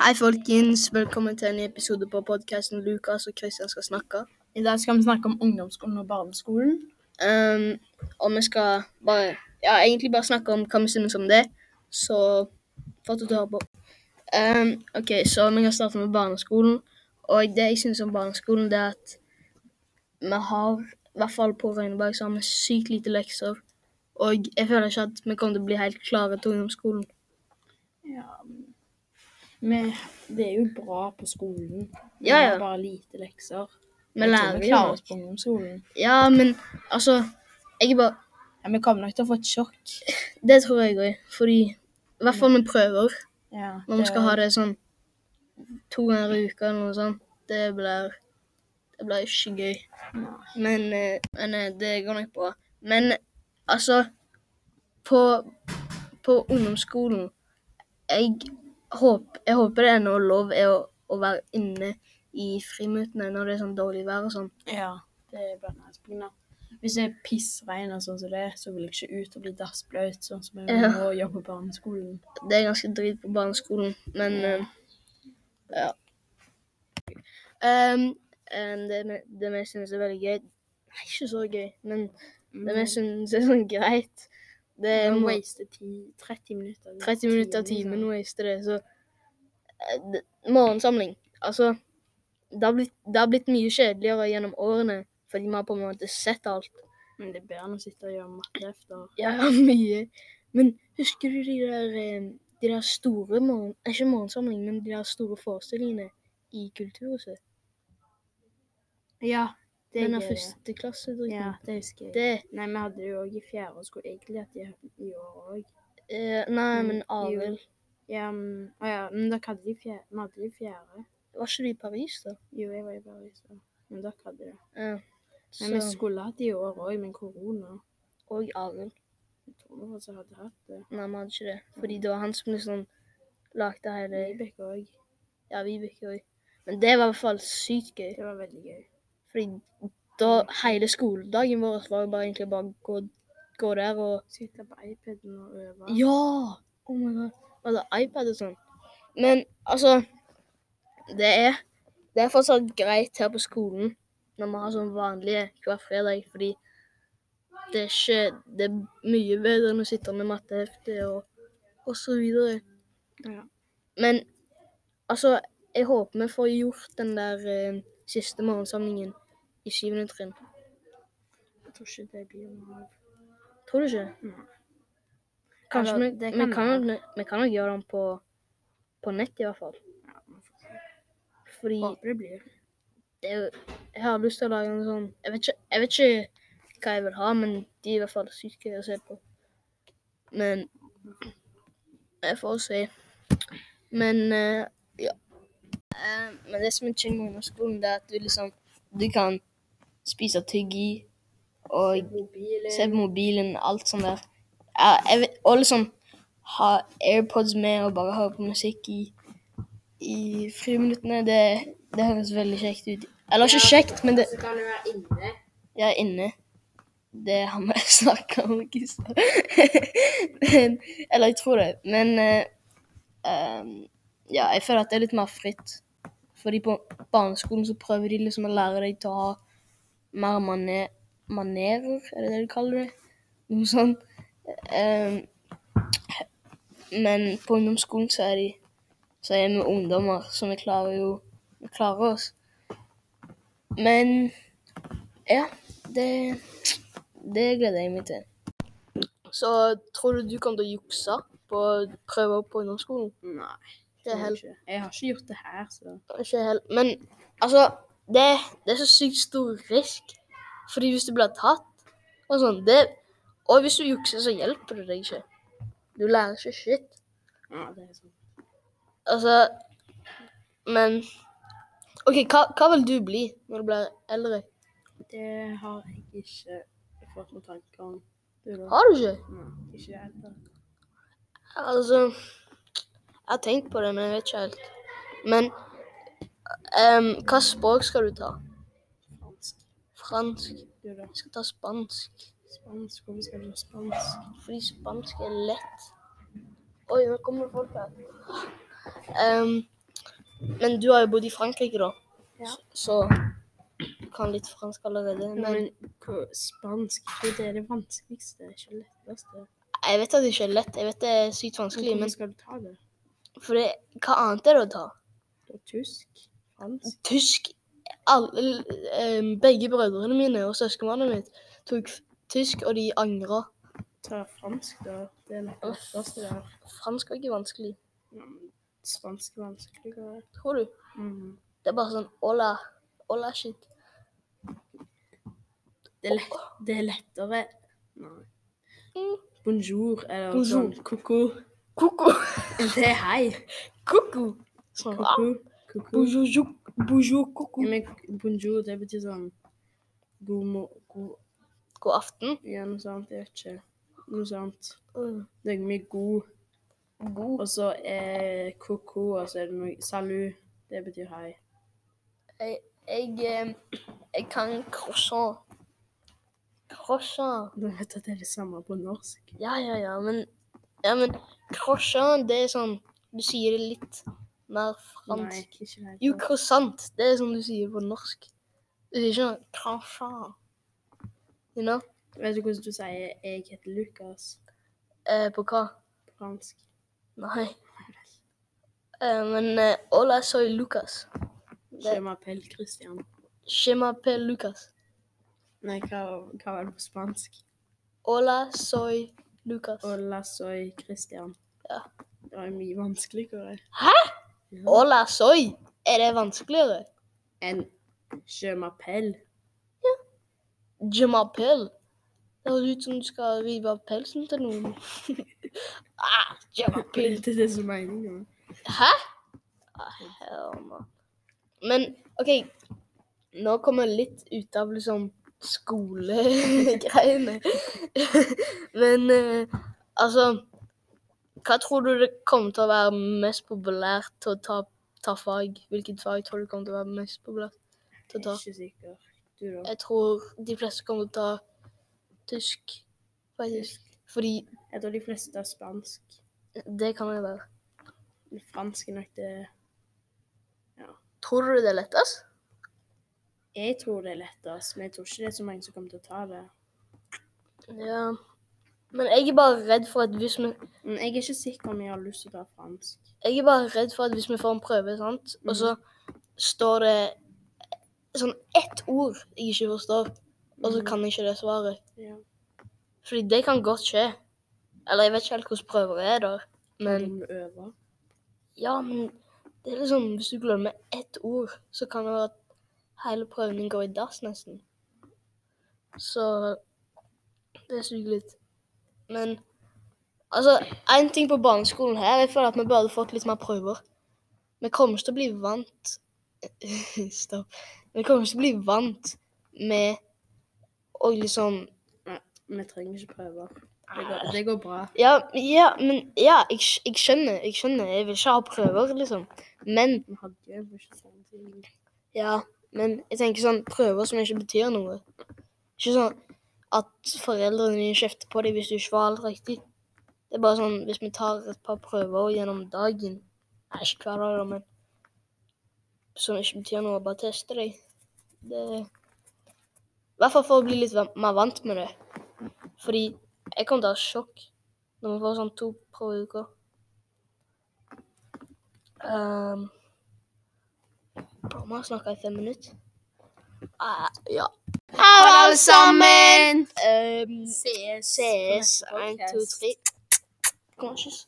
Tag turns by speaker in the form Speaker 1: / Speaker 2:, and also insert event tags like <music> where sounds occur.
Speaker 1: Hei, folkens. Velkommen til en ny episode på podkasten Lukas og Kristian skal snakke.
Speaker 2: I dag skal vi snakke om ungdomsskolen og barneskolen.
Speaker 1: Ehm, og vi skal bare Ja, egentlig bare snakke om hva vi synes om det. Så fortsett å høre på. Ehm, OK, så vi kan starte med barneskolen. Og det jeg synes om barneskolen, det er at vi har, i hvert fall på Røyneberg, så har vi sykt lite lekser. Og jeg føler ikke at vi kommer til å bli helt klare til ungdomsskolen.
Speaker 2: Ja. Men det er jo bra på skolen. Vi
Speaker 1: Ja, ja.
Speaker 2: har bare lite lekser.
Speaker 1: Vi lærer
Speaker 2: jo. Vi
Speaker 1: jo.
Speaker 2: klarer
Speaker 1: nå.
Speaker 2: oss på ungdomsskolen.
Speaker 1: Ja, men altså Jeg er bare
Speaker 2: Ja, vi kommer nok til å få et sjokk.
Speaker 1: Det tror jeg òg, fordi I hvert fall med prøver.
Speaker 2: Ja,
Speaker 1: Når vi skal ha det sånn to ganger i uka eller noe sånt, det blir Det blir ikke gøy.
Speaker 2: Nei.
Speaker 1: Men, eh, men eh, det går nok bra. Men altså På, på ungdomsskolen jeg, håp, jeg håper det er noe lov er å, å være inne i friminuttene når det er sånn dårlig vær og sånn.
Speaker 2: Ja, det er bare nice på grunn av. Hvis det er pissregn og sånn som det, er, så vil jeg ikke ut og bli dassbløt, sånn som jeg
Speaker 1: Ja.
Speaker 2: må gjøre på barneskolen.
Speaker 1: Det er ganske drit på barneskolen, men eh, ja. Ehm, ehm, det, me- det vi synes er veldig gøy Nei, ikke så gøy, men det vi synes er sånn greit Det er
Speaker 2: Man
Speaker 1: må-
Speaker 2: waster ti- 30 minutter.
Speaker 1: 30 minutter av timen
Speaker 2: liksom.
Speaker 1: waster det, så eh, det- Morgensamling. Altså, det har, blitt, det har blitt mye kjedeligere gjennom årene, fordi vi har på en måte sett alt.
Speaker 2: Men det er bedre enn å sitte og gjøre matte efter.
Speaker 1: Ja, <laughs> mye. Men husker du de der, eh, de der store morgen... eh, Ikke morgensamling, men de der store forestillingene i Kulturhuset?
Speaker 2: Ja, det
Speaker 1: Den der
Speaker 2: er gøy.
Speaker 1: første klassedritten.
Speaker 2: Ja, det husker jeg.
Speaker 1: Det
Speaker 2: Nei, vi hadde det jo òg i fjerde og skulle egentlig hatt det i- i år òg.
Speaker 1: eh, Nei,
Speaker 2: Mm,
Speaker 1: men
Speaker 2: jo.
Speaker 1: Arild
Speaker 2: Ja, mm, å ja, men dere hadde det i fjerde. Vi hadde det i fjerde.
Speaker 1: Var ikke du i Paris, da?
Speaker 2: Jo, jeg var i Paris, da. Men dere hadde det.
Speaker 1: Ja.
Speaker 2: Men vi
Speaker 1: Så,
Speaker 2: skulle hatt det i år òg, men korona
Speaker 1: og Arild.
Speaker 2: Jeg tror vi også hadde hatt det.
Speaker 1: Nei, vi hadde ikke det. Fordi det var han som liksom lagde hele
Speaker 2: Vibeke òg.
Speaker 1: Ja, Vibeke òg. Men det var i hvert fall sykt gøy.
Speaker 2: Det var veldig gøy.
Speaker 1: Fordi da hele skoledagen vår var jo bare egentlig bare gå, gå der og
Speaker 2: Sitte på iPaden og øve.
Speaker 1: Ja! Oh my god. Var det iPad og sånn? Men altså Det er, det er fortsatt greit her på skolen når vi har sånn vanlige hver fredag, fordi det er ikke Det er mye bedre enn å sitte med mattehefte og, og så videre.
Speaker 2: Ja.
Speaker 1: Men altså Jeg håper vi får gjort den der eh, siste morgensamlingen i syvende trinn.
Speaker 2: Jeg tror ikke det blir noe av.
Speaker 1: Tror du ikke?
Speaker 2: Nei.
Speaker 1: Kanskje
Speaker 2: Eller,
Speaker 1: vi,
Speaker 2: det
Speaker 1: vi,
Speaker 2: kan
Speaker 1: kan,
Speaker 2: være.
Speaker 1: nok- vi kan nok gjøre den på, på nett, i hvert fall.
Speaker 2: Ja, vi får se.
Speaker 1: Fordi
Speaker 2: Håper det blir.
Speaker 1: det er jo Jeg har lyst til å lage en sånn jeg vet, ikke, jeg vet ikke hva jeg vil ha, men de er i hvert fall sykt gøy å se på. Men Jeg får se. Men eh, ja. Eh, men det som er chill med ungdomsskolen, det er at du liksom Du kan spise tyggi og
Speaker 2: Mobilen.
Speaker 1: se på mobilen, alt sånt der. Ja, jeg vet, og liksom ha AirPods med og bare høre på musikk i, i friminuttene, det, det høres veldig kjekt ut. Eller ikke kjekt, men det
Speaker 2: Så kan du være inne.
Speaker 1: Jeg er inne. Det har vi <laughs> snakka om ikke så <laughs> Men- Eller jeg tror det. Men eh, ehm, ja, jeg føler at det er litt mer fritt. Fordi på barneskolen så prøver de liksom å lære deg til å ha mer mane manerer, er det det du kaller det? Noe sånt. Ehm, men på ungdomsskolen så er de så er vi ungdommer, så vi klarer jo vi klarer oss. Men ja, det, det gleder jeg meg til. Så tror du du kommer til å jukse på prøver på ungdomsskolen?
Speaker 2: Nei.
Speaker 1: Det er helt-
Speaker 2: ikke. Jeg har ikke gjort det her, så
Speaker 1: Ikke helt. Men altså, det, det er så sykt stor risk. Fordi hvis du blir tatt og sånn det, Og hvis du jukser, så hjelper det deg ikke. Du lærer ikke shit.
Speaker 2: ja, det er sånn.
Speaker 1: Altså Men OK, hva, hva vil du bli når du blir eldre?
Speaker 2: Det har jeg ikke fått noen tanker om. Du da?
Speaker 1: Har du ikke?
Speaker 2: Nei, ikke helt. da.
Speaker 1: Altså Jeg har tenkt på det, men jeg vet ikke helt. Men ehm, hva språk skal du ta?
Speaker 2: Fransk.
Speaker 1: Fransk?
Speaker 2: Du da?
Speaker 1: Jeg skal ta spansk.
Speaker 2: Spansk. Hvorfor skal du ha spansk?
Speaker 1: Fordi spansk er lett. Oi, nå kommer det folk her. Ehm, Men du har jo bodd i Frankrike, da.
Speaker 2: Ja.
Speaker 1: Så du kan litt fransk allerede.
Speaker 2: Men,
Speaker 1: Men
Speaker 2: hvor- spansk jeg tror det er det vanskeligste, det er ikke det letteste.
Speaker 1: jeg vet at det ikke er lett. Jeg vet det er sykt
Speaker 2: Men
Speaker 1: vanskelig.
Speaker 2: hvordan
Speaker 1: Men
Speaker 2: skal du ta det?
Speaker 1: for det, hva annet er det å ta?
Speaker 2: Det er tysk? Fransk?
Speaker 1: Tysk alle, eh, Begge brødrene mine og søskenbarnet mitt tok f- tysk, og de angra.
Speaker 2: Ta fransk, da. Det er nok det letteste der.
Speaker 1: Fransk er ikke vanskelig.
Speaker 2: Ja, men Spansk er vanskeligere.
Speaker 1: Tror du?
Speaker 2: Mhm.
Speaker 1: Det er bare sånn Ola. Ola shit.
Speaker 2: Det, er lett, det er lettere Nei.
Speaker 1: Mm.
Speaker 2: Bonjour eller
Speaker 1: Bonjour.
Speaker 2: sånn koko.
Speaker 1: Koko.
Speaker 2: <laughs> Det er hei.
Speaker 1: Koko. Sånn. ah,
Speaker 2: Koko. Koko.
Speaker 1: Bonjour, jou- bonjour, koko.
Speaker 2: Ja, men bonjour, det betyr sånn god mo... God,
Speaker 1: God aften.
Speaker 2: ja, noe sånt. Jeg vet ikke. Noe sånt.
Speaker 1: Mm.
Speaker 2: Det er mye god.
Speaker 1: God
Speaker 2: Og så er koko, og så er det noe Salut. Det betyr hei.
Speaker 1: Jeg, jeg, eh, jeg kan croissant. Croissant.
Speaker 2: Du vet at det er det samme på norsk.
Speaker 1: Ja, ja, ja, men, ja, men croissant, det er sånn Du sier det litt mer
Speaker 2: Nei,
Speaker 1: fransk.
Speaker 2: ikke helt.
Speaker 1: Jo, croissant, det er sånn du sier på norsk. Du sier ikke sånn croissant. You know?
Speaker 2: Vet du hvordan du sier 'jeg heter Lukas'
Speaker 1: Eh, på hva?
Speaker 2: på fransk?
Speaker 1: Nei. Eh, men eh, hola soy Lucas.
Speaker 2: Je m'appelle Christian.
Speaker 1: Je m'appelle Lucas.
Speaker 2: Nei, hva, hva var det på spansk?
Speaker 1: Hola soy Lucas.
Speaker 2: Hola, soy Christian.
Speaker 1: Ja.
Speaker 2: Det var mye vanskeligere.
Speaker 1: Hæ?
Speaker 2: Ja.
Speaker 1: Hola soy? Er det vanskeligere?
Speaker 2: Enn je m'appelle.
Speaker 1: Jamapel. Det høres ut som du skal rive av pelsen til noen. <laughs> ah, Jamapel.
Speaker 2: Det er det som er meningen.
Speaker 1: Hæ? Ah, hell no. Men OK, nå kommer jeg litt ut av liksom skolegreiene. <laughs> Men eh, altså Hva tror du det kommer til å være mest populært til å ta, ta fag? Hvilket fag tror du kommer til å være mest populært til å
Speaker 2: Jeg
Speaker 1: ta?
Speaker 2: er ikke sikker. Du, da?
Speaker 1: Jeg tror de fleste kommer til å ta tysk, faktisk. Fordi
Speaker 2: Jeg tror de fleste har spansk.
Speaker 1: det kan jo være.
Speaker 2: Men Fransk er nok det
Speaker 1: Tror du det er lettest?
Speaker 2: Jeg tror det er lettest, men jeg tror ikke det er så mange som kommer til å ta det.
Speaker 1: Ja. Men jeg er bare redd for at hvis vi,
Speaker 2: Men jeg er ikke sikker om jeg har lyst til å ta fransk.
Speaker 1: jeg er bare redd for at hvis vi får en prøve, sant? og så står det sånn ett ord jeg ikke forstår, og så
Speaker 2: Mhm.
Speaker 1: kan jeg ikke det svaret.
Speaker 2: Ja.
Speaker 1: Fordi det kan godt skje. Eller jeg vet ikke helt hvordan prøver er der. Men
Speaker 2: Om du øver.
Speaker 1: Ja, men det er liksom Hvis du glemmer ett ord, så kan det være at hele prøven din går i dass, nesten. Så det suger litt. Men altså, én ting på barneskolen her Jeg føler at vi burde fått litt mer prøver. Vi kommer ikke til å bli vant <laughs> Stopp. Vi kommer ikke til å bli vant med å liksom
Speaker 2: Nei, vi trenger ikke prøver. Det går, det går bra.
Speaker 1: Ja, ja men ja, jeg, skj- jeg skjønner. Jeg skjønner. Jeg vil ikke ha prøver, liksom. Men
Speaker 2: Vi hadde jo ikke sånn ting.
Speaker 1: Ja, men jeg tenker sånn prøver som ikke betyr noe. Ikke sånn at foreldrene dine kjefter på deg hvis du ikke får alt riktig. Det er bare sånn hvis vi tar et par prøver gjennom dagen Nei, ikke hver dag, da, men Som ikke betyr noe, bare teste deg. Det I hvert fall for å bli litt va- mer vant med det. Fordi jeg kommer til å ha sjokk når vi får sånn to prøver i uka. Ehm, Mamma har snakka i fem minutter. Ah, ja. Her alle sammen! Um,
Speaker 2: Ses.
Speaker 1: ses.
Speaker 2: på neste
Speaker 1: Én, to,
Speaker 2: podcast.
Speaker 1: tre. Kom, kyss.